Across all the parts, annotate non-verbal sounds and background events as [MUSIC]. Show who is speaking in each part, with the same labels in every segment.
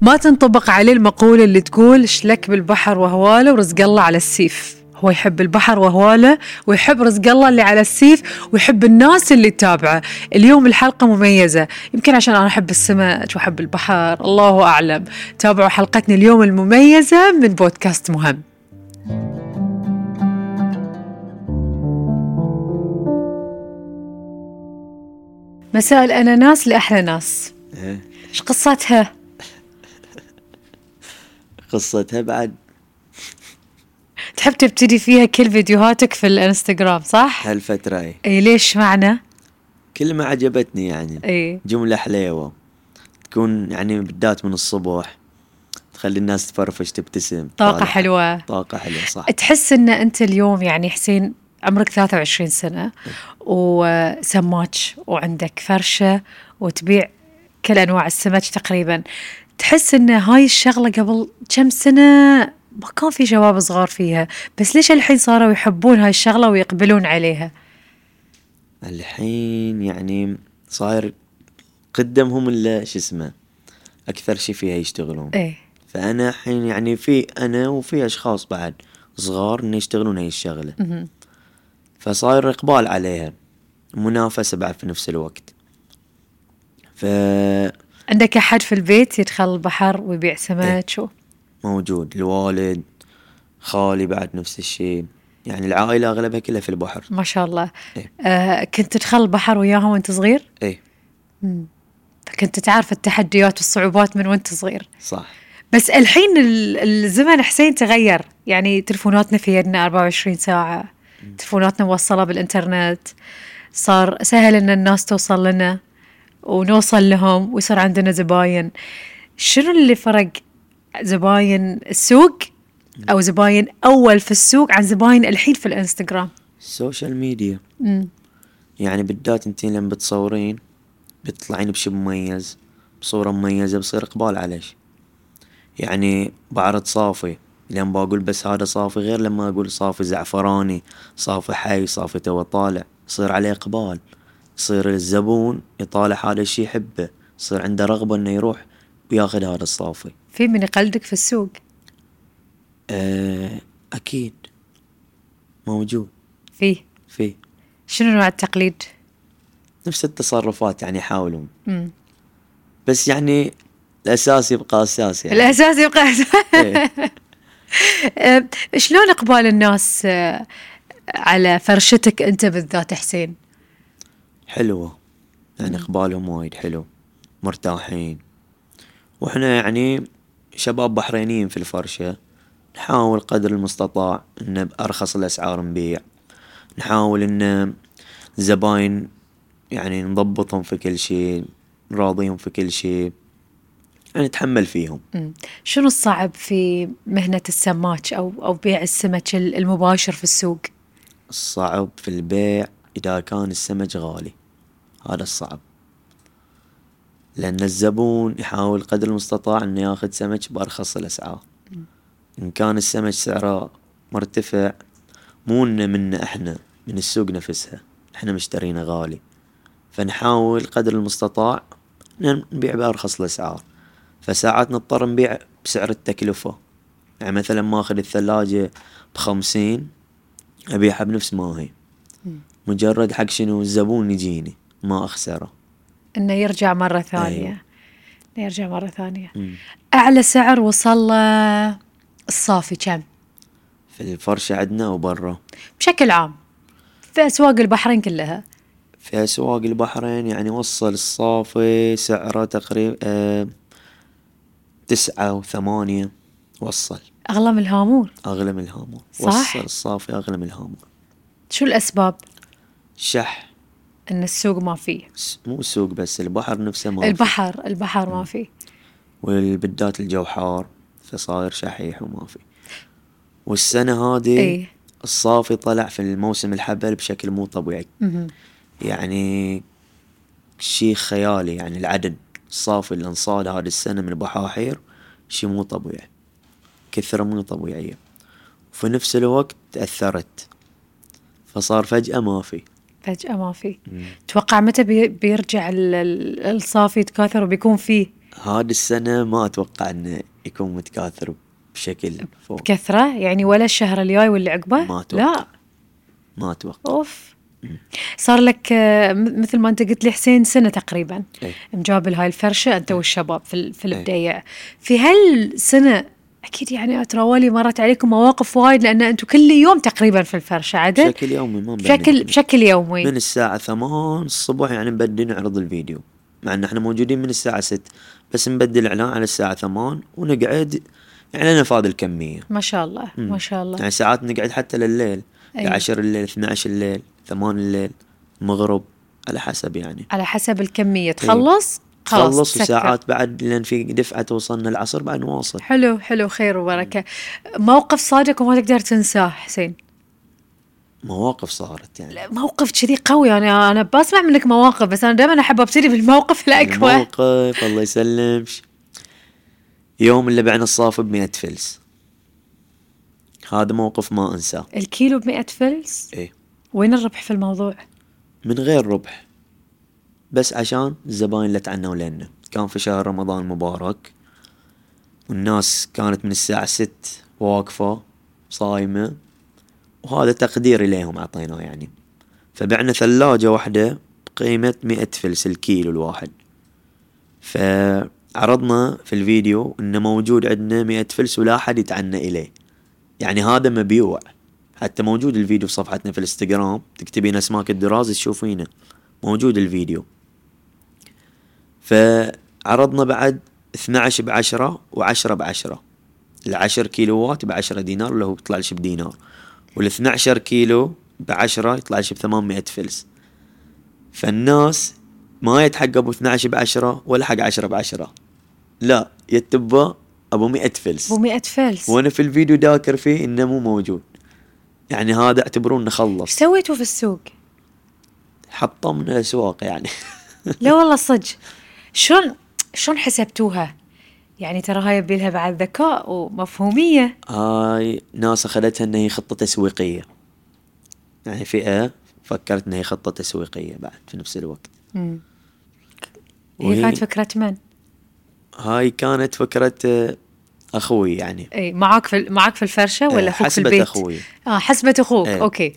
Speaker 1: ما تنطبق عليه المقولة اللي تقول شلك بالبحر وهواله ورزق الله على السيف هو يحب البحر وهواله ويحب رزق الله اللي على السيف ويحب الناس اللي تتابعه اليوم الحلقة مميزة يمكن عشان أنا أحب السمك وأحب البحر الله أعلم تابعوا حلقتنا اليوم المميزة من بودكاست مهم مساء الأناناس لأحلى ناس
Speaker 2: إيه.
Speaker 1: إيش قصتها؟
Speaker 2: قصتها بعد
Speaker 1: تحب تبتدي فيها كل فيديوهاتك في الانستغرام صح؟
Speaker 2: هالفترة اي
Speaker 1: اي ليش إيه، معنى؟
Speaker 2: كل ما عجبتني يعني
Speaker 1: اي
Speaker 2: جملة حليوة تكون يعني بالذات من الصبح تخلي الناس تفرفش تبتسم
Speaker 1: طاقة
Speaker 2: طالع.
Speaker 1: حلوة
Speaker 2: طاقة حلوة صح
Speaker 1: تحس ان انت اليوم يعني حسين عمرك 23 سنة وسماتش وعندك فرشة وتبيع كل انواع السمك تقريبا تحس ان هاي الشغلة قبل كم سنة ما كان في شباب صغار فيها بس ليش الحين صاروا يحبون هاي الشغلة ويقبلون عليها
Speaker 2: الحين يعني صاير قدم هم اللي شو اسمه أكثر شي فيها يشتغلون
Speaker 1: ايه
Speaker 2: فأنا الحين يعني في أنا وفي أشخاص بعد صغار إن يشتغلون هاي الشغلة
Speaker 1: مهم.
Speaker 2: فصاير إقبال عليها منافسة بعد في نفس الوقت ف
Speaker 1: عندك احد في البيت يدخل البحر ويبيع سمك و...
Speaker 2: موجود الوالد خالي بعد نفس الشيء يعني العائلة أغلبها كلها في البحر
Speaker 1: ما شاء الله
Speaker 2: إيه.
Speaker 1: آه كنت تدخل البحر وياهم وانت صغير
Speaker 2: إيه
Speaker 1: فكنت تعرف التحديات والصعوبات من وانت صغير
Speaker 2: صح
Speaker 1: بس الحين ال- الزمن حسين تغير يعني تلفوناتنا في يدنا 24 ساعة تلفوناتنا موصلة بالإنترنت صار سهل إن الناس توصل لنا ونوصل لهم ويصير عندنا زباين شنو اللي فرق زباين السوق أو زباين أول في السوق عن زباين الحين في الإنستغرام
Speaker 2: السوشيال ميديا
Speaker 1: مم.
Speaker 2: يعني بالذات انتين لما بتصورين بتطلعين بشي مميز بصورة مميزة بصير إقبال عليش يعني بعرض صافي لما بقول بس هذا صافي غير لما أقول صافي زعفراني صافي حي صافي تو طالع يصير عليه إقبال يصير الزبون يطالع هذا الشي يحبه يصير عنده رغبة إنه يروح وياخذ هذا الصافي
Speaker 1: في من يقلدك في السوق
Speaker 2: آه، أكيد موجود
Speaker 1: في
Speaker 2: فيه
Speaker 1: شنو نوع التقليد
Speaker 2: نفس التصرفات يعني يحاولون
Speaker 1: مم.
Speaker 2: بس يعني الأساس يبقى أساس يعني
Speaker 1: الأساس يبقى [LAUGHS]
Speaker 2: إيه.
Speaker 1: أه، شلون اقبال الناس أه، على فرشتك انت بالذات حسين
Speaker 2: حلوة يعني إقبالهم وايد حلو مرتاحين وإحنا يعني شباب بحرينيين في الفرشة نحاول قدر المستطاع إن بأرخص الأسعار نبيع نحاول إن زباين يعني نضبطهم في كل شيء نراضيهم في كل شيء يعني نتحمل فيهم
Speaker 1: مم. شنو الصعب في مهنة السماك أو أو بيع السمك ال- المباشر في السوق؟
Speaker 2: الصعب في البيع إذا كان السمك غالي هذا الصعب لأن الزبون يحاول قدر المستطاع إنه ياخذ سمك بأرخص الأسعار إن كان السمك سعره مرتفع مو إنه منا إحنا من السوق نفسها إحنا مشترينه غالي فنحاول قدر المستطاع إن نبيع بأرخص الأسعار فساعات نضطر نبيع بسعر التكلفة يعني مثلا ماخذ الثلاجة بخمسين أبيعها بنفس ما هي مجرد حق شنو الزبون يجيني ما أخسره
Speaker 1: إنه يرجع مرة ثانية
Speaker 2: أيوة.
Speaker 1: إنه يرجع مرة ثانية
Speaker 2: مم.
Speaker 1: أعلى سعر وصل له الصافي كم؟
Speaker 2: في الفرشة عندنا وبرا
Speaker 1: بشكل عام في أسواق البحرين كلها
Speaker 2: في أسواق البحرين يعني وصل الصافي سعره تقريبا آه تسعة وثمانية وصل
Speaker 1: أغلى من الهامور
Speaker 2: أغلى من الهامور
Speaker 1: صح.
Speaker 2: وصل الصافي أغلى من الهامور
Speaker 1: شو الأسباب
Speaker 2: شح
Speaker 1: إن السوق ما فيه؟
Speaker 2: س- مو سوق بس البحر نفسه ما في.
Speaker 1: البحر البحر ما فيه
Speaker 2: والبدات الجو حار فصاير شحيح وما في والسنة هذه
Speaker 1: إيه.
Speaker 2: الصافي طلع في الموسم الحبل بشكل مو طبيعي
Speaker 1: مهم.
Speaker 2: يعني شيء خيالي يعني العدد الصافي اللي انصاد هذه السنة من البحاحير شيء مو طبيعي كثرة مو طبيعية وفي نفس الوقت تأثرت فصار فجأة ما في
Speaker 1: فجأة ما في توقع متى بي- بيرجع ال- ال- الصافي يتكاثر وبيكون فيه
Speaker 2: هاد السنة ما أتوقع أنه يكون متكاثر بشكل فوق
Speaker 1: بكثرة يعني ولا الشهر الجاي واللي عقبه
Speaker 2: ما أتوقع.
Speaker 1: لا
Speaker 2: ما أتوقع
Speaker 1: اوف صار لك آه، م- مثل ما انت قلت لي حسين سنه تقريبا
Speaker 2: إيه.
Speaker 1: مجابل هاي الفرشه انت والشباب في ال- في
Speaker 2: إيه.
Speaker 1: البدايه في هالسنه اكيد يعني اتراولي مرت عليكم مواقف وايد لان انتم كل يوم تقريبا في الفرشه عدل
Speaker 2: بشكل يومي ما نبدي
Speaker 1: بشكل
Speaker 2: نعمل.
Speaker 1: بشكل يومي
Speaker 2: من الساعة 8 الصبح يعني نبدي نعرض الفيديو مع ان احنا موجودين من الساعة 6 بس نبدي الاعلان على الساعة 8 ونقعد يعني لنا فاضل كمية
Speaker 1: ما شاء الله ما شاء الله
Speaker 2: يعني ساعات نقعد حتى لليل
Speaker 1: أيوة.
Speaker 2: 10 الليل 12 الليل 8 الليل المغرب على حسب يعني
Speaker 1: على حسب الكميه تخلص خلاص
Speaker 2: خلص
Speaker 1: تسكر.
Speaker 2: وساعات بعد لان في دفعة توصلنا العصر بعد نواصل
Speaker 1: حلو حلو خير وبركه موقف صادق وما تقدر تنساه حسين
Speaker 2: مواقف صارت يعني
Speaker 1: موقف كذي قوي يعني انا بسمع منك مواقف بس انا دائما احب ابتدي بالموقف الاقوى
Speaker 2: الموقف الله يسلمش يوم اللي بعنا الصافي ب 100 فلس هذا موقف ما انساه
Speaker 1: الكيلو ب 100 فلس
Speaker 2: ايه
Speaker 1: وين الربح في الموضوع؟
Speaker 2: من غير ربح بس عشان الزباين اللي تعنوا لنا كان في شهر رمضان المبارك والناس كانت من الساعة ست واقفة صايمة وهذا تقدير إليهم عطيناه يعني فبعنا ثلاجة واحدة بقيمة مئة فلس الكيلو الواحد فعرضنا في الفيديو إنه موجود عندنا مئة فلس ولا أحد يتعنى إليه يعني هذا مبيوع حتى موجود الفيديو في صفحتنا في الانستغرام تكتبين اسماك الدراز تشوفينه موجود الفيديو فعرضنا بعد 12 ب 10 و10 ب 10 ال 10 كيلو وات ب 10 دينار اللي هو بيطلع لك بدينار وال 12 كيلو ب 10 يطلع لك ب 800 فلس فالناس ما يتحق ابو 12 ب 10 ولا حق 10 ب 10 لا يتبه ابو 100 فلس
Speaker 1: ابو 100 فلس
Speaker 2: وانا في الفيديو داكر فيه انه مو موجود يعني هذا اعتبروه انه
Speaker 1: ايش
Speaker 2: خلص
Speaker 1: سويتوا في السوق؟
Speaker 2: حطمنا الاسواق يعني [LAUGHS]
Speaker 1: لا والله صدق شلون شلون حسبتوها؟ يعني ترى هاي يبي لها بعد ذكاء ومفهوميه
Speaker 2: هاي ناس اخذتها ان هي خطه تسويقيه يعني فئه فكرت ان هي خطه تسويقيه بعد في نفس الوقت
Speaker 1: هي
Speaker 2: وهي-
Speaker 1: كانت فكره من؟
Speaker 2: هاي كانت فكره آه، اخوي يعني
Speaker 1: اي معاك في معاك في الفرشه
Speaker 2: إيه،
Speaker 1: ولا اخوك في
Speaker 2: حسبة
Speaker 1: البيت؟
Speaker 2: أخوي.
Speaker 1: اه حسبة اخوك
Speaker 2: إيه.
Speaker 1: اوكي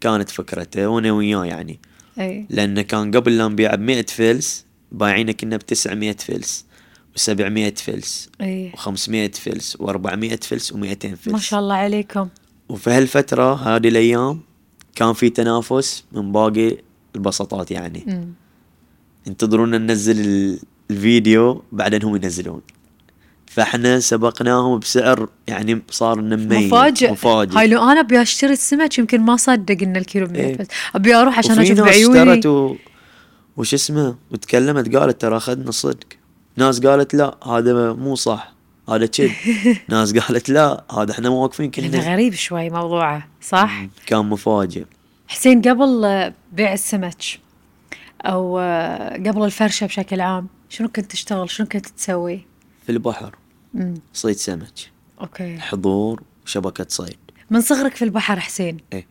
Speaker 2: كانت فكرته وانا وياه يعني
Speaker 1: اي
Speaker 2: لانه كان قبل لا نبيعه ب 100 فلس بايعينه كنا ب 900 فلس و700 فلس
Speaker 1: اي
Speaker 2: و500 فلس و400 فلس و200 فلس
Speaker 1: إيه. ما شاء الله عليكم
Speaker 2: وفي هالفترة هذه الأيام كان في تنافس من باقي البساطات يعني
Speaker 1: مم.
Speaker 2: ينتظرونا ننزل ال- الفيديو بعدين هم ينزلون فاحنا سبقناهم بسعر يعني صار انه مميز
Speaker 1: مفاجئ
Speaker 2: مفاجئ
Speaker 1: هاي لو انا ابي اشتري السمك يمكن ما اصدق ان الكيلو ب 100
Speaker 2: إيه.
Speaker 1: فلس ابي اروح عشان
Speaker 2: وفي
Speaker 1: اشوف
Speaker 2: ناس
Speaker 1: بعيوني
Speaker 2: اشترت و... وش اسمه وتكلمت قالت ترى اخذنا صدق ناس قالت لا هذا مو صح هذا
Speaker 1: [LAUGHS]
Speaker 2: كذب ناس قالت لا هذا احنا مو واقفين
Speaker 1: لانه
Speaker 2: كنا
Speaker 1: غريب شوي موضوعه صح؟
Speaker 2: كان مفاجئ
Speaker 1: حسين قبل آه، بيع السمك او آه، قبل الفرشه بشكل عام شنو كنت تشتغل؟ شنو كنت تسوي؟
Speaker 2: في البحر صيد سمك
Speaker 1: اوكي
Speaker 2: حضور وشبكة صيد
Speaker 1: من صغرك في البحر حسين
Speaker 2: إيه.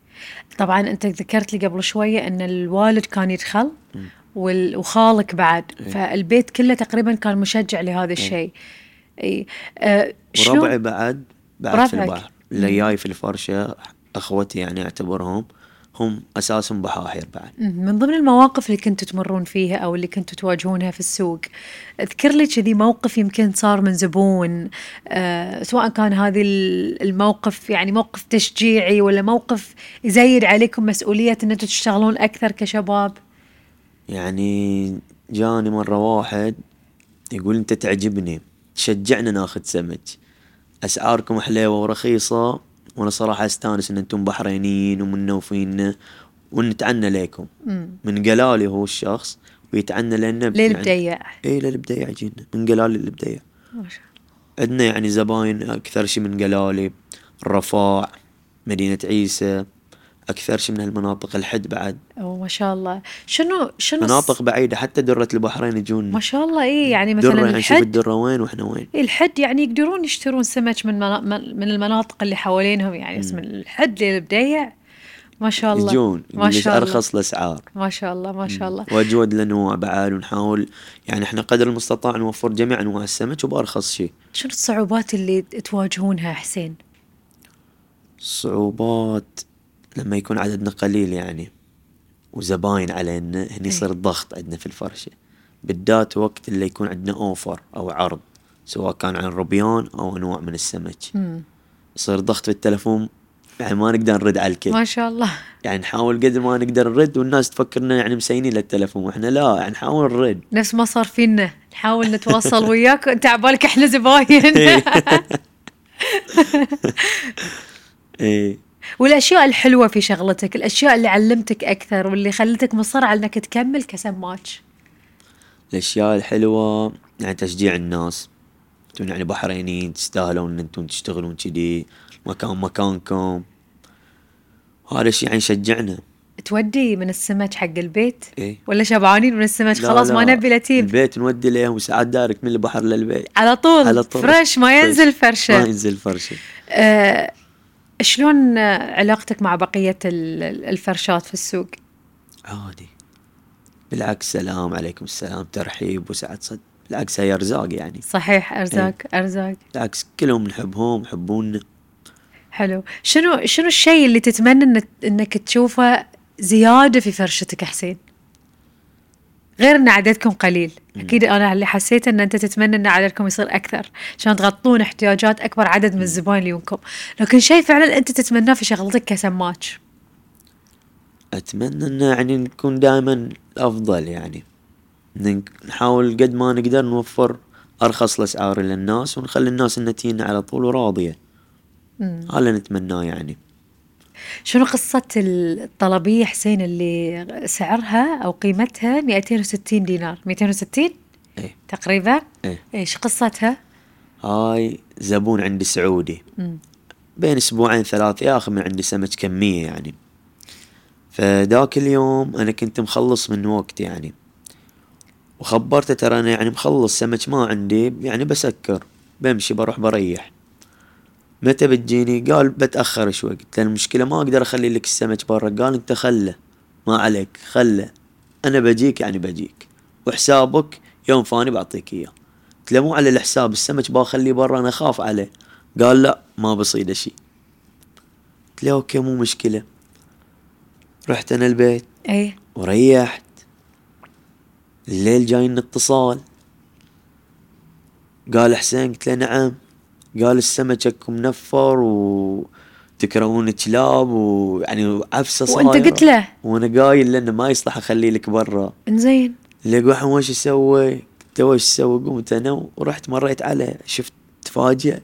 Speaker 1: طبعا انت ذكرت لي قبل شويه ان الوالد كان يدخل وال- وخالك بعد فالبيت كله تقريبا كان مشجع لهذا الشيء اي آه، شلون-
Speaker 2: وربعي بعد بعد في
Speaker 1: ربعك.
Speaker 2: البحر اللي جاي في الفرشة اخوتي يعني اعتبرهم هم اساسهم بحاحير بعد
Speaker 1: مم. من ضمن المواقف اللي كنتوا تمرون فيها او اللي كنتوا تواجهونها في السوق اذكر لي كذي موقف يمكن صار من زبون آه سواء كان هذه ال- الموقف يعني موقف تشجيعي ولا موقف يزيد عليكم مسؤوليه ان انتم تشتغلون اكثر كشباب
Speaker 2: يعني جاني مرة واحد يقول انت تعجبني تشجعنا ناخذ سمك اسعاركم حليوة ورخيصة وانا صراحة استانس ان انتم بحرينيين ومنوفين ونتعنى لكم من قلالي هو الشخص ويتعنى لنا يعني
Speaker 1: ليه البديع
Speaker 2: اي للبديع جينا من قلالي للبديع
Speaker 1: ما شاء الله.
Speaker 2: عندنا يعني زباين أكثر شي من قلالي الرفاع مدينة عيسى أكثر شي من هالمناطق الحد بعد
Speaker 1: أو ما شاء الله شنو شنو الس-
Speaker 2: مناطق بعيدة حتى درة البحرين
Speaker 1: ما
Speaker 2: يجون
Speaker 1: شاء الله اي يعني
Speaker 2: درة
Speaker 1: مثلا
Speaker 2: يعني شوف
Speaker 1: الحد
Speaker 2: الدرة وين وإحنا وين
Speaker 1: إيه الحد يعني يقدرون يشترون سمك من منا... من من المناطق اللي حوالينهم يعني بس من الحد للبديع ما شاء الله
Speaker 2: يجون
Speaker 1: ما
Speaker 2: ليش
Speaker 1: شاء الله
Speaker 2: ارخص الاسعار
Speaker 1: ما شاء الله ما شاء الله
Speaker 2: واجود الانواع بعد ونحاول يعني احنا قدر المستطاع نوفر جميع انواع السمك وبارخص شيء
Speaker 1: شنو الصعوبات اللي تواجهونها حسين
Speaker 2: صعوبات لما يكون عددنا قليل يعني وزباين علينا هني يصير ضغط عندنا في الفرشة بالذات وقت اللي يكون عندنا اوفر او عرض سواء كان عن روبيان او نوع من السمك
Speaker 1: مم.
Speaker 2: يصير ضغط في التلفون يعني ما نقدر نرد على الكل
Speaker 1: ما شاء الله
Speaker 2: يعني نحاول قد ما نقدر نرد والناس تفكرنا يعني مسينين للتلفون واحنا لا يعني نحاول نرد
Speaker 1: نفس ما صار فينا نحاول نتواصل وياك [LAUGHS] انت عبالك احنا زباين
Speaker 2: إيه.
Speaker 1: [LAUGHS]
Speaker 2: ايه
Speaker 1: والاشياء الحلوه في شغلتك الاشياء اللي علمتك اكثر واللي خلتك مصر على انك تكمل كسماج
Speaker 2: الاشياء الحلوه يعني تشجيع الناس انتم يعني بحرينيين تستاهلون ان انتم تشتغلون كذي مكان مكانكم هذا الشيء يعني شجعنا
Speaker 1: تودي من السمك حق البيت
Speaker 2: إيه.
Speaker 1: ولا شبعانين من السمك
Speaker 2: لا
Speaker 1: خلاص ما
Speaker 2: لا،
Speaker 1: نبي لتيب
Speaker 2: البيت نودي لهم ساعات دايركت من البحر للبيت
Speaker 1: على طول
Speaker 2: على طول
Speaker 1: فريش ما ينزل
Speaker 2: ما
Speaker 1: فرشه
Speaker 2: ينزل فرشه
Speaker 1: آه شلون آه، علاقتك مع بقيه ال- ال- الفرشات في السوق
Speaker 2: عادي بالعكس سلام عليكم السلام ترحيب وسعة صدر بالعكس هي ارزاق يعني
Speaker 1: صحيح ارزاق
Speaker 2: إيه.
Speaker 1: ارزاق
Speaker 2: بالعكس كلهم نحبهم يحبونا
Speaker 1: حلو شنو شنو الشيء اللي تتمنى إن انك تشوفه زياده في فرشتك حسين غير ان عددكم قليل اكيد انا اللي حسيت ان انت تتمنى ان عددكم يصير اكثر عشان تغطون احتياجات اكبر عدد من الزباين اللي يمكم لكن شيء فعلا انت تتمناه في شغلتك كسماج
Speaker 2: اتمنى انه يعني نكون دائما الافضل يعني إن نحاول قد ما نقدر نوفر ارخص الاسعار للناس ونخلي الناس إنها تجينا على طول وراضيه هذا اللي نتمناه يعني
Speaker 1: شنو قصه الطلبيه حسين اللي سعرها او قيمتها 260 دينار 260
Speaker 2: ايه
Speaker 1: تقريبا
Speaker 2: ايه
Speaker 1: ايش قصتها
Speaker 2: هاي زبون عندي سعودي
Speaker 1: مم.
Speaker 2: بين اسبوعين ثلاث ياخذ من عندي سمك كميه يعني فذاك اليوم انا كنت مخلص من وقت يعني وخبرته ترى انا يعني مخلص سمك ما عندي يعني بسكر بمشي بروح بريح متى بتجيني قال بتاخر شوي قلت له المشكله ما اقدر اخلي لك السمك برا قال انت خله ما عليك خله انا بجيك يعني بجيك وحسابك يوم فاني بعطيك اياه قلت له مو على الحساب السمك بخليه برا انا اخاف عليه قال لا ما بصيده شيء قلت له اوكي مو مشكله رحت انا البيت
Speaker 1: ايه
Speaker 2: وريحت الليل جاينا اتصال قال حسين قلت له نعم قال السمك اكو منفر وتكرهون يعني الكلاب ويعني عفسه صايره
Speaker 1: وانت قلت له
Speaker 2: وانا قايل لانه ما يصلح اخليه لك برا
Speaker 1: انزين
Speaker 2: لقوا احنا وش اسوي؟ قلت له وش اسوي؟ قمت انا ورحت مريت عليه شفت تفاجئت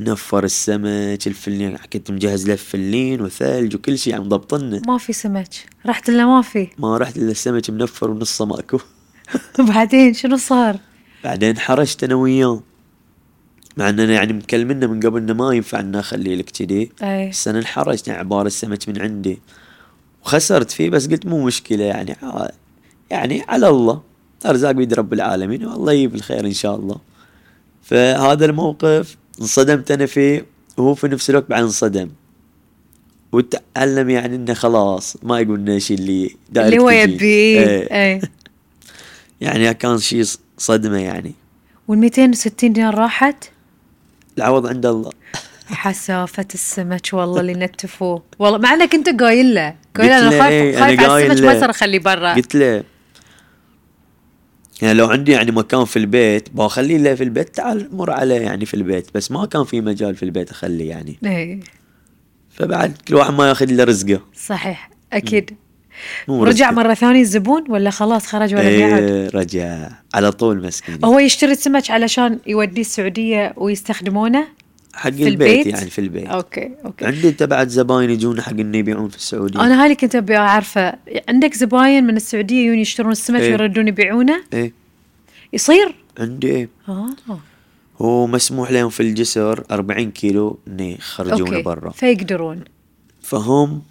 Speaker 2: منفر السمك الفلين كنت مجهز له فلين وثلج وكل شيء يعني مضبطنه
Speaker 1: ما في سمك رحت الا ما في [LAUGHS]
Speaker 2: ما رحت الا السمك منفر ونصه ماكو
Speaker 1: بعدين شنو صار
Speaker 2: بعدين حرجت انا وياه مع اننا يعني مكلمنا من قبل انه ما ينفع انه اخلي لك كذي
Speaker 1: اي
Speaker 2: بس انا انحرجت يعني عباره السمك من عندي وخسرت فيه بس قلت مو مشكله يعني ع- يعني على الله ارزاق بيد رب العالمين والله يجيب الخير ان شاء الله فهذا الموقف انصدمت انا فيه وهو في نفس الوقت بعد انصدم وتعلم يعني انه خلاص ما يقول لنا شيء اللي دايركت
Speaker 1: اللي هو
Speaker 2: يجي.
Speaker 1: يبي
Speaker 2: إيه.
Speaker 1: اي
Speaker 2: يعني كان شيء ص- صدمه يعني
Speaker 1: وال 260 دينار راحت
Speaker 2: العوض عند الله
Speaker 1: حسافة السمك والله اللي نتفوه والله مع انك انت قايل له قايل له
Speaker 2: قلت
Speaker 1: انا
Speaker 2: له إيه،
Speaker 1: خايف خايف
Speaker 2: أنا
Speaker 1: على
Speaker 2: قايل
Speaker 1: السمك ما
Speaker 2: له.
Speaker 1: صار اخليه برا
Speaker 2: قلت له يعني لو عندي يعني مكان في البيت بخليه له في البيت تعال مر عليه يعني في البيت بس ما كان في مجال في البيت اخليه يعني
Speaker 1: اي
Speaker 2: فبعد كل واحد ما ياخذ الا رزقه
Speaker 1: صحيح اكيد
Speaker 2: مو
Speaker 1: رجع
Speaker 2: رزقه.
Speaker 1: مرة ثانية الزبون ولا خلاص خرج ولا قعد
Speaker 2: إيه رجع على طول مسكين
Speaker 1: هو يشتري السمك علشان يوديه السعودية ويستخدمونه
Speaker 2: حق
Speaker 1: في
Speaker 2: البيت,
Speaker 1: البيت؟
Speaker 2: يعني في البيت
Speaker 1: اوكي اوكي
Speaker 2: عندي تبعت زباين يجون حق انه يبيعون في السعوديه
Speaker 1: انا هاي اللي كنت ابي اعرفه عندك زباين من السعودية يجون يشترون السمك
Speaker 2: إيه.
Speaker 1: ويردون يبيعونه
Speaker 2: ايه
Speaker 1: يصير
Speaker 2: عندي إيه.
Speaker 1: اه
Speaker 2: هو مسموح لهم في الجسر 40 كيلو انه يخرجونه
Speaker 1: اوكي
Speaker 2: برا
Speaker 1: فيقدرون
Speaker 2: فهم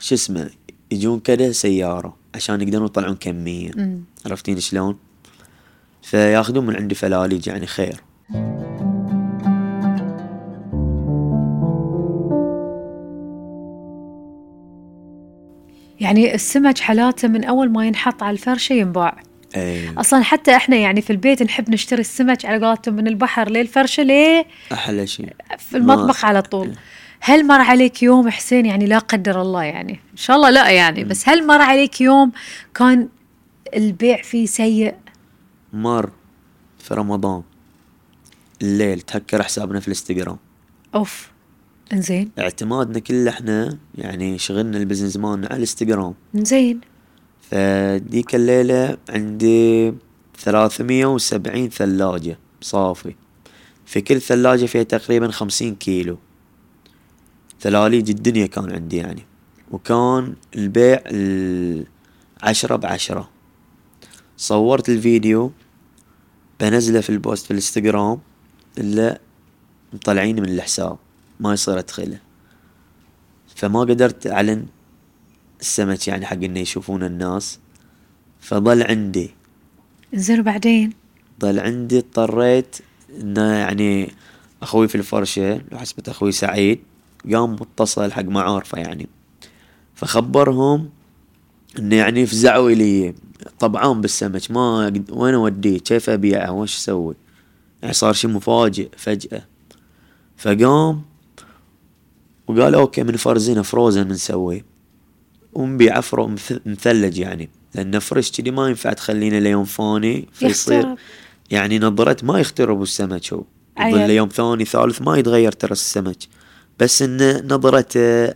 Speaker 2: شو اسمه يجون كذا سيارة عشان يقدرون يطلعون كمية
Speaker 1: أمم.
Speaker 2: عرفتين شلون؟ فياخذون من عندي فلاليج يعني خير
Speaker 1: يعني السمك حالاته من أول ما ينحط على الفرشة ينباع
Speaker 2: إيه. اي
Speaker 1: أصلا حتى إحنا يعني في البيت نحب نشتري السمك على قولتهم من البحر للفرشة ليه
Speaker 2: احلى شيء
Speaker 1: في المطبخ على طول هل مر عليك يوم حسين يعني لا قدر الله يعني ان شاء الله لا يعني بس هل مر عليك يوم كان البيع فيه سيء
Speaker 2: مر في رمضان الليل تهكر حسابنا في الانستغرام
Speaker 1: اوف انزين
Speaker 2: اعتمادنا كله احنا يعني شغلنا البزنس مالنا على الانستغرام
Speaker 1: انزين
Speaker 2: فديك الليلة عندي 370 ثلاجة صافي في كل ثلاجة فيها تقريبا 50 كيلو ثلاليج الدنيا كان عندي يعني وكان البيع ال- عشرة بعشرة صورت الفيديو بنزله في البوست في الانستغرام الا مطلعيني من الحساب ما يصير ادخله فما قدرت اعلن السمك يعني حق انه يشوفون الناس فضل عندي
Speaker 1: انزين وبعدين
Speaker 2: ضل عندي اضطريت انه يعني اخوي في الفرشه حسبة اخوي سعيد قام متصل حق معارفه يعني فخبرهم انه يعني فزعوا الي طبعان بالسمك ما أقد- وين اوديه كيف ابيعه وش اسوي يعني صار شيء مفاجئ فجأة فقام وقال اوكي من فرزينه فروزن بنسويه ونبيعه فرو مث- مثلج يعني لان فريش كذي ما ينفع تخلينه ليوم فاني فيصير
Speaker 1: يخترب.
Speaker 2: يعني نظرته ما يخترب السمك هو
Speaker 1: عيل.
Speaker 2: يظل يوم ثاني ثالث ما يتغير ترى السمك بس انه نظرته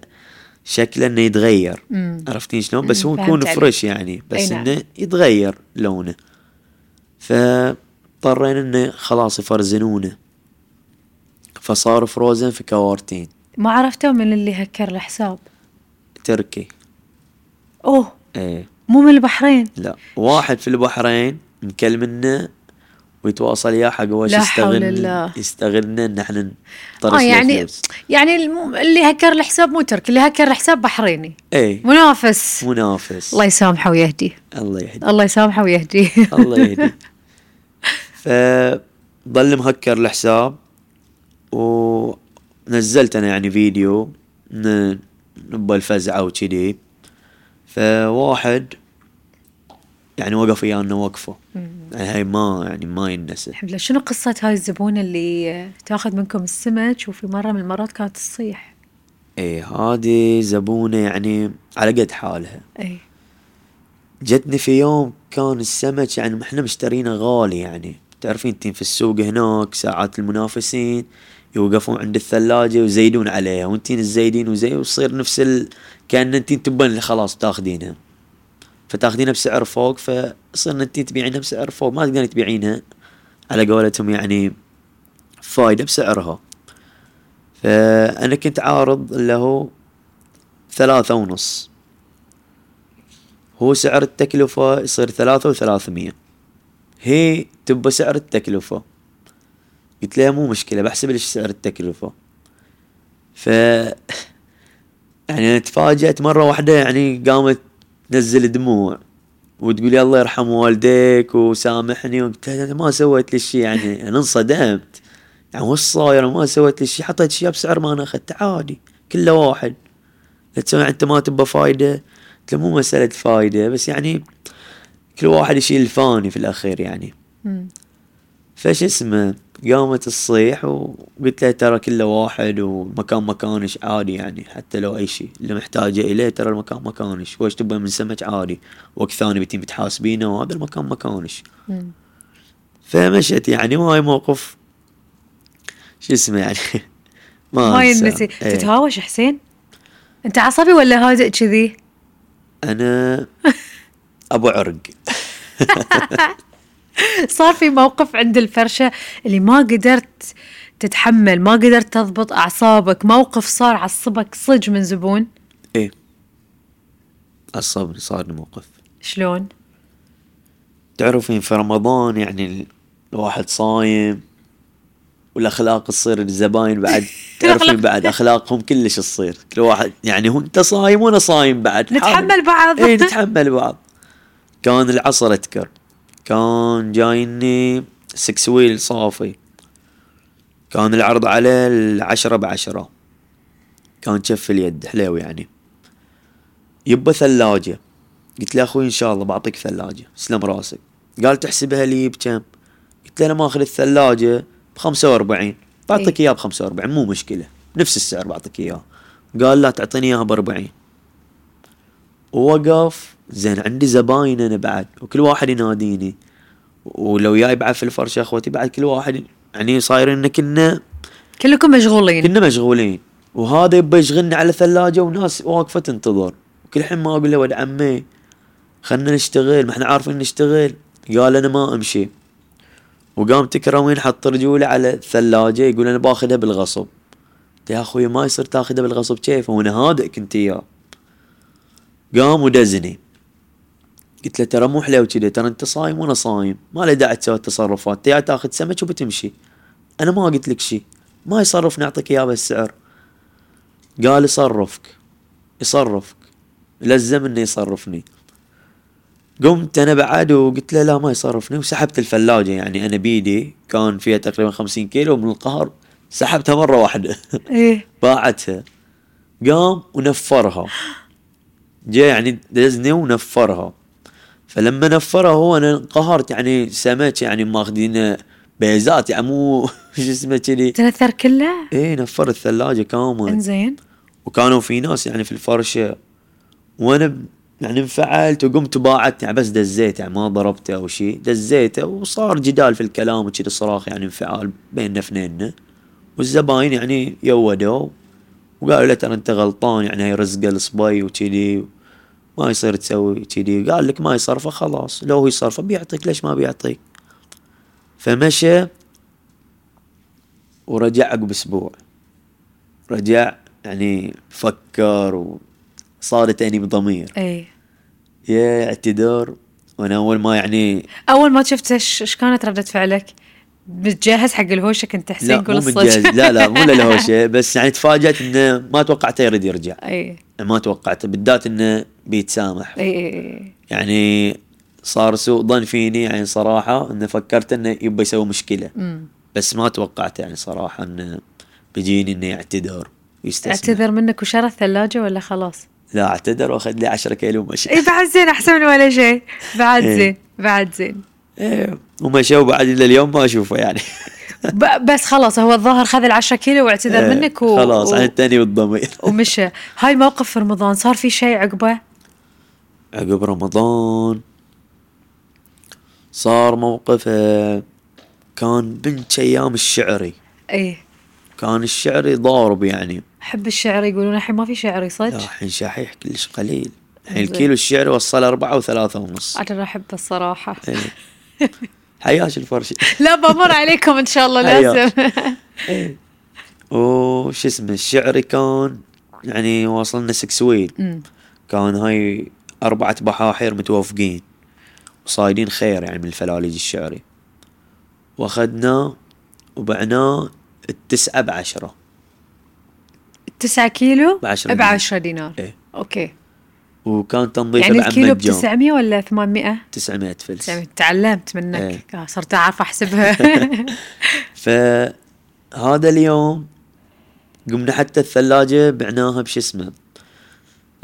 Speaker 2: شكله انه يتغير
Speaker 1: مم.
Speaker 2: عرفتي شلون بس هو
Speaker 1: مم،
Speaker 2: يكون
Speaker 1: فهمت
Speaker 2: فريش يعني
Speaker 1: أي
Speaker 2: بس
Speaker 1: نعم.
Speaker 2: انه يتغير لونه فاضطرينا انه خلاص يفرزنونه فصار فروزن في كوارتين
Speaker 1: ما عرفتوا من اللي هكر الحساب
Speaker 2: تركي
Speaker 1: اوه
Speaker 2: ايه
Speaker 1: مو من البحرين
Speaker 2: لا واحد في البحرين مكلمنا ويتواصل يا حق وش
Speaker 1: لا حول
Speaker 2: يستغل
Speaker 1: الله.
Speaker 2: يستغلنا ان احنا
Speaker 1: اه
Speaker 2: نطرش
Speaker 1: يعني
Speaker 2: يعني
Speaker 1: يعني الم- اللي هكر الحساب مو تركي اللي هكر الحساب بحريني
Speaker 2: ايه
Speaker 1: منافس
Speaker 2: منافس
Speaker 1: الله يسامحه ويهديه
Speaker 2: الله يهدي
Speaker 1: الله يسامحه ويهديه
Speaker 2: [LAUGHS] الله
Speaker 1: [LAUGHS]
Speaker 2: يهدي فضل مهكر الحساب ونزلت انا يعني فيديو ن- نبى الفزعه وكذي فواحد يعني وقف ويانا وقفه يعني هاي ما يعني ما ينسى
Speaker 1: الحمد لله شنو قصة هاي الزبونة اللي تاخذ منكم السمك وفي مرة من المرات كانت تصيح
Speaker 2: ايه هذه زبونه يعني على قد حالها
Speaker 1: اي
Speaker 2: جتني في يوم كان السمك يعني احنا مشترينه غالي يعني تعرفين انتين في السوق هناك ساعات المنافسين يوقفون عند الثلاجة ويزيدون عليها وانتين تزيدين وزي ويصير نفس ال... كأن انتين تبين اللي خلاص تاخذينها فتاخذينها بسعر فوق فصرنا انتين تبيعينها بسعر فوق ما تقدرين تبيعينها على قولتهم يعني فايدة بسعرها فأنا كنت عارض اللي هو ثلاثة ونص هو سعر التكلفة يصير ثلاثة وثلاثمية هي تبى سعر التكلفة قلت لها مو مشكلة بحسب ليش سعر التكلفة ف [LAUGHS] يعني أنا تفاجأت مرة واحدة يعني قامت تنزل دموع وتقول يا الله يرحم والديك وسامحني وقلت لها أنا ما سويت لي شيء يعني انا انصدمت يعني وش صاير ما سويت لي شيء حطيت شيء بسعر ما انا اخذته عادي كله واحد لا تسوي انت ما تبى فايده قلت له مو مساله فايده بس يعني كل واحد يشيل الفاني في الاخير يعني
Speaker 1: مم.
Speaker 2: فش اسمه قامت تصيح وقلت لها ترى كله واحد والمكان مكانش عادي يعني حتى لو اي شيء اللي محتاجه اليه ترى المكان مكانش وش تبى من سمك عادي وقت ثاني بتين بتحاسبينه وهذا المكان مكانش
Speaker 1: مم.
Speaker 2: فمشت يعني وهاي موقف شو اسمه يعني [LAUGHS] ما
Speaker 1: ما
Speaker 2: أنساه.
Speaker 1: ينسي
Speaker 2: إيه.
Speaker 1: تتهاوش حسين انت عصبي ولا هادئ كذي
Speaker 2: انا ابو عرق
Speaker 1: صار في موقف عند الفرشة اللي ما قدرت تتحمل ما قدرت تضبط أعصابك موقف صار عصبك صج من زبون
Speaker 2: ايه عصبني صار لي موقف
Speaker 1: شلون
Speaker 2: تعرفين في رمضان يعني ال- الواحد صايم والاخلاق تصير
Speaker 1: [LAUGHS]
Speaker 2: الزباين بعد تعرفين بعد اخلاقهم كلش تصير كل واحد يعني هو انت صايم وانا صايم بعد
Speaker 1: نتحمل بعض.
Speaker 2: اي نتحمل بعض كان العصر اذكر كان جايني سكس ويل صافي كان العرض عليه العشرة بعشرة كان شف اليد حليو يعني يبا ثلاجة قلت له أخوي إن شاء الله بعطيك ثلاجة سلم راسك قال تحسبها لي بكم قلت له أنا ماخذ الثلاجة بخمسة وأربعين بعطيك
Speaker 1: إي.
Speaker 2: إياها بخمسة وأربعين مو مشكلة نفس السعر بعطيك إياها قال لا تعطيني إياها بأربعين ووقف زين عندي زباين أنا بعد وكل واحد يناديني ولو جاي بعد في الفرشة أخوتي بعد كل واحد يعني صايرين إن كنا
Speaker 1: [LAUGHS] كلكم مشغولين
Speaker 2: كنا مشغولين وهذا يبى يشغلني على ثلاجة وناس واقفة تنتظر كل حين ما أقول له ولد عمي خلنا نشتغل ما احنا عارفين نشتغل قال أنا ما أمشي وقام تكرمين حط رجوله على الثلاجة يقول أنا باخذها بالغصب قلت يا أخوي ما يصير تاخذها بالغصب كيف وأنا هادئ كنت إياه قام ودزني قلت له ترى مو حلو كذا ترى انت صايم وانا صايم ما له داعي تسوي التصرفات تيا تاخذ سمك وبتمشي انا ما قلت لك شيء ما يصرف نعطيك اياه بالسعر قال يصرفك يصرفك لزم انه يصرفني قمت انا بعد وقلت له لا ما يصرفني وسحبت الثلاجه يعني انا بيدي كان فيها تقريبا 50 كيلو من القهر سحبتها مره واحده [LAUGHS]
Speaker 1: ايه
Speaker 2: باعتها قام ونفرها جاء يعني دزني ونفرها فلما نفرها هو انا انقهرت يعني سمك يعني ماخذين بيزات يعني مو [LAUGHS] شو اسمه كذي
Speaker 1: تنثر كله
Speaker 2: ايه نفر الثلاجه كامل
Speaker 1: انزين
Speaker 2: وكانوا في ناس يعني في الفرشه وانا ب- يعني انفعلت وقمت باعت يعني بس دزيته يعني ما ضربته او شيء دزيته وصار جدال في الكلام وكذي صراخ يعني انفعال بيننا اثنيننا والزباين يعني يودوا وقالوا له ترى انت غلطان يعني هي رزقه الصبي وكذي ما يصير تسوي كذي قال لك ما يصرفه خلاص لو هو يصرفه بيعطيك ليش ما بيعطيك فمشى ورجع عقب اسبوع رجع يعني فكر وصار تأنيب ضمير
Speaker 1: ايه
Speaker 2: يا اعتذار وانا اول ما يعني
Speaker 1: اول ما شفته إيش- ايش كانت ردة فعلك؟ متجهز حق الهوشه كنت
Speaker 2: لا
Speaker 1: حسين
Speaker 2: مو
Speaker 1: قول [LAUGHS]
Speaker 2: متجهز
Speaker 1: الصدق
Speaker 2: لا لا مو للهوشه بس يعني تفاجات انه ما توقعته يريد يرجع
Speaker 1: اي
Speaker 2: ما توقعته بالذات انه بيتسامح
Speaker 1: إيه. اي
Speaker 2: يعني صار سوء ظن فيني يعني صراحه انه فكرت انه يبى يسوي مشكله بس ما توقعت يعني صراحه انه بيجيني انه يعتذر ويستسمح
Speaker 1: اعتذر منك وشرى الثلاجه ولا
Speaker 2: [LAUGHS]
Speaker 1: خلاص؟
Speaker 2: لا اعتذر واخذ لي 10 كيلو ومشي
Speaker 1: اي بعد زين احسن من ولا شيء بعد
Speaker 2: إيه.
Speaker 1: زين بعد زين
Speaker 2: إيه، ومشى وبعد الى اليوم ما اشوفه يعني
Speaker 1: ب- بس خلاص هو الظاهر خذ العشرة كيلو واعتذر
Speaker 2: إيه،
Speaker 1: منك و...
Speaker 2: خلاص
Speaker 1: و...
Speaker 2: عن التاني والضمير
Speaker 1: ومشى هاي موقف في رمضان صار في شيء عقبه
Speaker 2: عقب رمضان صار موقف آه، كان بنت ايام الشعري
Speaker 1: اي
Speaker 2: كان الشعري ضارب يعني
Speaker 1: حب إيه. الشعر يقولون الحين ما في شعر
Speaker 2: لا،
Speaker 1: صدق
Speaker 2: الحين شحيح كلش قليل الحين
Speaker 1: زين.
Speaker 2: الكيلو الشعري وصل أربعة
Speaker 1: [LAUGHS]
Speaker 2: وثلاثة ونص
Speaker 1: انا احبه الصراحه
Speaker 2: إيه. حياش الفرشة
Speaker 1: [LAUGHS] لا بمر عليكم ان شاء الله
Speaker 2: أيوة.
Speaker 1: لازم [LAUGHS]
Speaker 2: وش اسمه الشعري كان يعني وصلنا سكسويد
Speaker 1: أمم.
Speaker 2: كان هاي أربعة بحاحير متوافقين وصايدين خير يعني من الفلاليج الشعري واخذناه وبعناه التسعة بعشرة
Speaker 1: تسعة كيلو
Speaker 2: بعشرة
Speaker 1: ب 10 دينار
Speaker 2: إيه.
Speaker 1: اوكي
Speaker 2: وكان تنظيفه
Speaker 1: يعني الكيلو ب
Speaker 2: بعمد جام
Speaker 1: 900 ولا 800
Speaker 2: 900 فلس
Speaker 1: 900 تعلمت منك
Speaker 2: إيه.
Speaker 1: آه، صرت اعرف [LAUGHS]
Speaker 2: [LAUGHS]
Speaker 1: احسبها
Speaker 2: فهذا اليوم قمنا حتى الثلاجة بعناها بش اسمه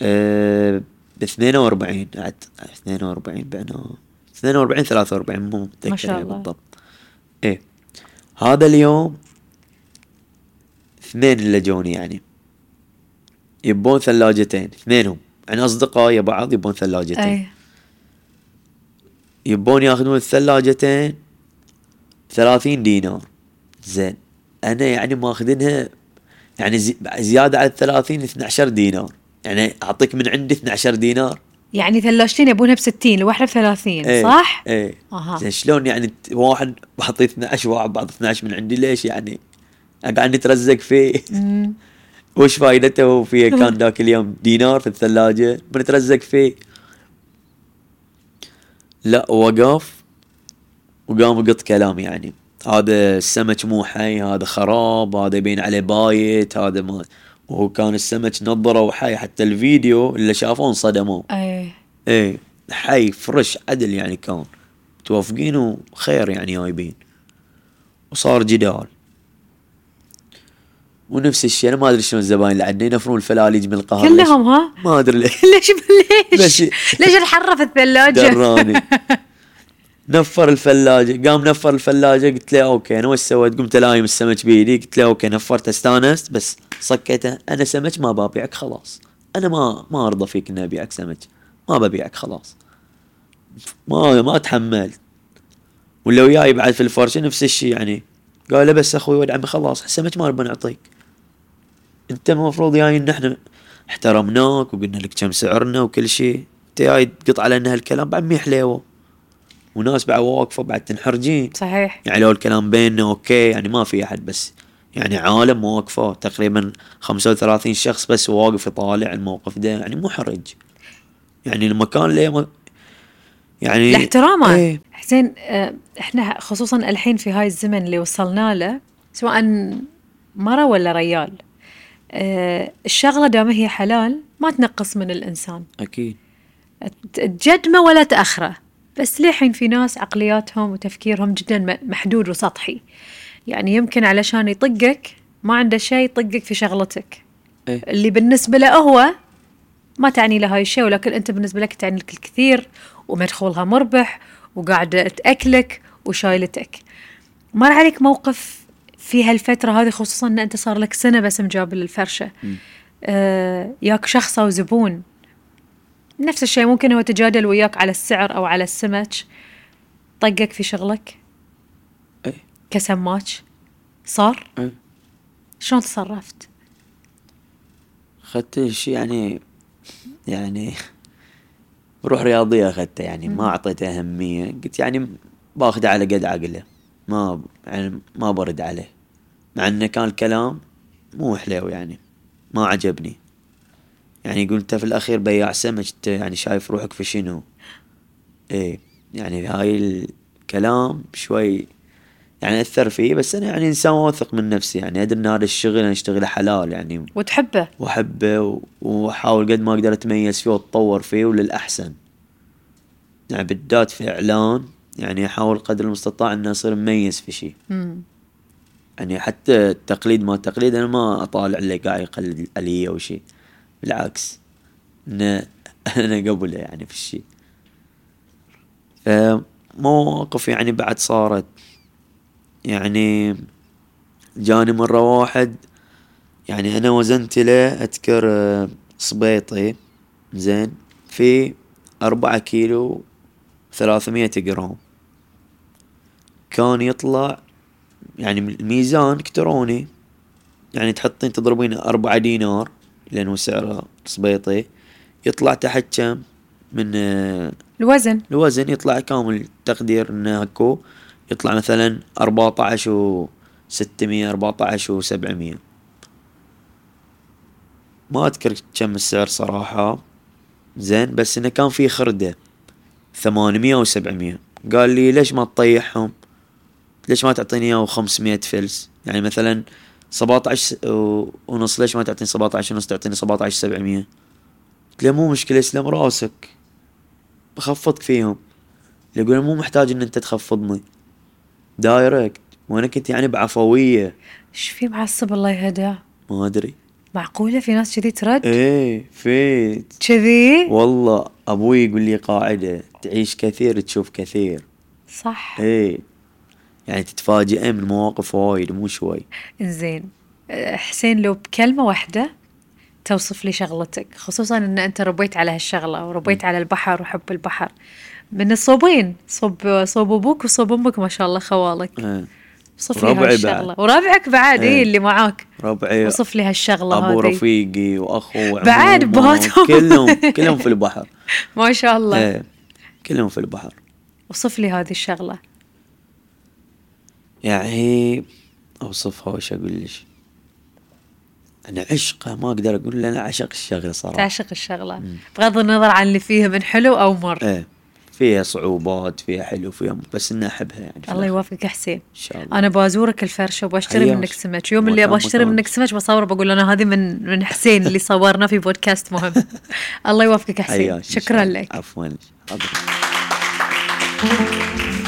Speaker 2: أه ب 42 عاد 42 بعناها 42 43 مو متذكر
Speaker 1: ما شاء
Speaker 2: يعني
Speaker 1: الله.
Speaker 2: بالضبط ايه هذا اليوم اثنين اللي جوني يعني يبون ثلاجتين اثنينهم يعني اصدقاء يا بعض يبون ثلاجتين
Speaker 1: اي
Speaker 2: يبون ياخذون الثلاجتين ثلاثين دينار زين انا يعني ماخذينها يعني زي زياده على الثلاثين 12 دينار يعني اعطيك من عندي 12 دينار
Speaker 1: يعني ثلاجتين يبونها ب 60 الواحده ب 30 صح؟
Speaker 2: ايه
Speaker 1: أها.
Speaker 2: زين شلون يعني ت- واحد بعطيه 12 واحد بعطيه 12 من عندي ليش يعني قاعد نترزق فيه
Speaker 1: [LAUGHS] أمم.
Speaker 2: وش فايدته فيه كان ذاك اليوم دينار في الثلاجة بنترزق فيه لا وقف وقام قط كلام يعني هذا السمك مو حي هذا خراب هذا يبين عليه بايت هذا ما وكان السمك نظره وحي حتى الفيديو اللي شافوه انصدموا
Speaker 1: اي
Speaker 2: ايه حي فرش عدل يعني كان متوافقين وخير يعني جايبين وصار جدال ونفس الشيء انا ما ادري شلون الزباين اللي عندنا ينفرون الفلاليج من القهوه
Speaker 1: كلهم ها [LAUGHS]
Speaker 2: آه، ليش؟ ما ادري ليش
Speaker 1: ليش ليش
Speaker 2: ليش-
Speaker 1: ليش الحرة في الثلاجة
Speaker 2: دراني نفر الفلاجه قام نفر الفلاجه قلت له اوكي انا وش سويت قمت لايم السمك بيدي قلت له اوكي نفرته استانست بس صكيته انا سمك ما ببيعك خلاص انا ما ما ارضى فيك اني ابيعك سمك ما ببيعك خلاص ما ما اتحملت ولا وياي بعد في الفرشه نفس الشيء يعني قال له بس اخوي ولد عمي خلاص السمك ما نبي نعطيك انت المفروض جاي ان احنا احترمناك وقلنا لك كم سعرنا وكل شيء انت جاي تقطع لنا هالكلام بعد مي حليوه وناس بعد واقفه بعد تنحرجين
Speaker 1: صحيح
Speaker 2: يعني لو الكلام بيننا اوكي يعني ما في احد بس يعني عالم واقفه تقريبا 35 شخص بس واقف يطالع الموقف ده يعني محرج يعني المكان ليه ما يعني
Speaker 1: لاحتراما
Speaker 2: ايه
Speaker 1: حسين آه، احنا خصوصا الحين في هاي الزمن اللي وصلنا له سواء مرة ولا ريال آه، الشغلة دام هي حلال ما تنقص من الإنسان
Speaker 2: اكيد
Speaker 1: ت- تجدمه ولا تأخره بس للحين في ناس عقلياتهم وتفكيرهم جدا م- محدود وسطحي يعني يمكن علشان يطقك ما عنده شيء يطقك في شغلتك
Speaker 2: إيه.
Speaker 1: اللي بالنسبة له هو ما تعني له هاي الشيء ولكن أنت بالنسبة لك تعني لك الكثير ومدخولها مربح وقاعدة تأكلك وشايلتك مر عليك موقف في هالفترة هذه خصوصا أن أنت صار لك سنة بس مجابل الفرشة آه ياك شخص أو زبون نفس الشيء ممكن هو تجادل وياك على السعر أو على السمك طقك في شغلك
Speaker 2: إيه.
Speaker 1: كسماك صار
Speaker 2: إيه.
Speaker 1: شلون تصرفت
Speaker 2: اخذت شيء يعني يعني روح رياضيه اخذته يعني ما اعطيته اهميه قلت يعني باخذه على قد عقله ما يعني ما برد عليه مع انه كان الكلام مو حلو يعني ما عجبني يعني قلت في الاخير بياع سمك إنت يعني شايف روحك في شنو ايه يعني هاي الكلام شوي يعني اثر فيه بس انا يعني انسان واثق من نفسي يعني ادري ان هذا الشغل انا اشتغله حلال يعني
Speaker 1: وتحبه
Speaker 2: واحبه و- واحاول قد ما اقدر اتميز فيه واتطور فيه وللاحسن يعني بالذات في اعلان يعني احاول قدر المستطاع اني اصير مميز في شيء
Speaker 1: مم.
Speaker 2: يعني حتى التقليد ما التقليد انا ما اطالع اللي قاعد يقلد علي او شيء بالعكس إنه [LAUGHS] انا قبله يعني في الشيء فمواقف يعني بعد صارت يعني جاني مرة واحد يعني انا وزنت له اذكر آه، صبيطي زين في أربعة كيلو ثلاثمية جرام كان يطلع يعني الميزان الكتروني يعني تحطين تضربين أربعة دينار لأنه سعره صبيطي يطلع تحت كم من آه،
Speaker 1: الوزن
Speaker 2: الوزن يطلع كامل تقدير انه اكو يطلع مثلا 14 و 600 14 و 700 ما اذكر كم السعر صراحة زين بس انه كان في خردة 800 و 700 قال لي ليش ما تطيحهم ليش ما تعطيني اياه 500 فلس يعني مثلا 17 س- و- ونص ليش ما تعطيني 17 ونص تعطيني 17 700 قلت له مو مشكلة اسلم راسك بخفضك فيهم يقول مو محتاج ان انت تخفضني دايركت وانا كنت يعني بعفويه
Speaker 1: ايش في معصب الله يهداه
Speaker 2: ما ادري
Speaker 1: معقولة في ناس كذي ترد
Speaker 2: ايه فيت
Speaker 1: كذي
Speaker 2: والله ابوي يقول لي قاعده تعيش كثير تشوف كثير
Speaker 1: صح
Speaker 2: ايه يعني تتفاجئين من مواقف وايد مو شوي
Speaker 1: انزين أه، حسين لو بكلمة واحدة توصف لي شغلتك خصوصا ان انت ربيت على هالشغلة وربيت على البحر وحب البحر من الصوبين صوب صوب ابوك وصوب امك ما شاء الله خوالك
Speaker 2: إيه.
Speaker 1: وصف لي
Speaker 2: وربعي
Speaker 1: هالشغلة وربعك بعد اي
Speaker 2: إيه.
Speaker 1: اللي معاك
Speaker 2: ربعي
Speaker 1: وصف لي هالشغلة
Speaker 2: ابو
Speaker 1: هذه
Speaker 2: رفيقي واخو
Speaker 1: بعد
Speaker 2: وعموم،
Speaker 1: بهاتهم.
Speaker 2: كلهم كلهم
Speaker 1: [LAUGHS]
Speaker 2: في البحر
Speaker 1: ما شاء الله
Speaker 2: ايه كلهم في البحر
Speaker 1: وصف لي هذه الشغلة
Speaker 2: يعني اوصفها وش اقول لك انا عشقه ما اقدر اقول لأن انا عشق الشغله صراحه
Speaker 1: تعشق الشغلة بغض النظر عن اللي فيها من حلو او مر
Speaker 2: ايه فيها صعوبات فيها حلو فيها بس اني احبها يعني في
Speaker 1: الله
Speaker 2: الآخر.
Speaker 1: يوفقك يا حسين
Speaker 2: ان شاء الله
Speaker 1: انا بازورك الفرشه وبشتري
Speaker 2: حياك.
Speaker 1: منك سمك يوم اللي ابغى
Speaker 2: متعود-
Speaker 1: اشتري منك
Speaker 2: متعود.
Speaker 1: سمك بصور بقول انا هذه من من حسين اللي صورنا في بودكاست
Speaker 2: [LAUGHS]
Speaker 1: مهم الله يوفقك يا
Speaker 2: حياك
Speaker 1: حسين
Speaker 2: إن شاء
Speaker 1: شكرا
Speaker 2: الله.
Speaker 1: لك
Speaker 2: عفوا حاضر.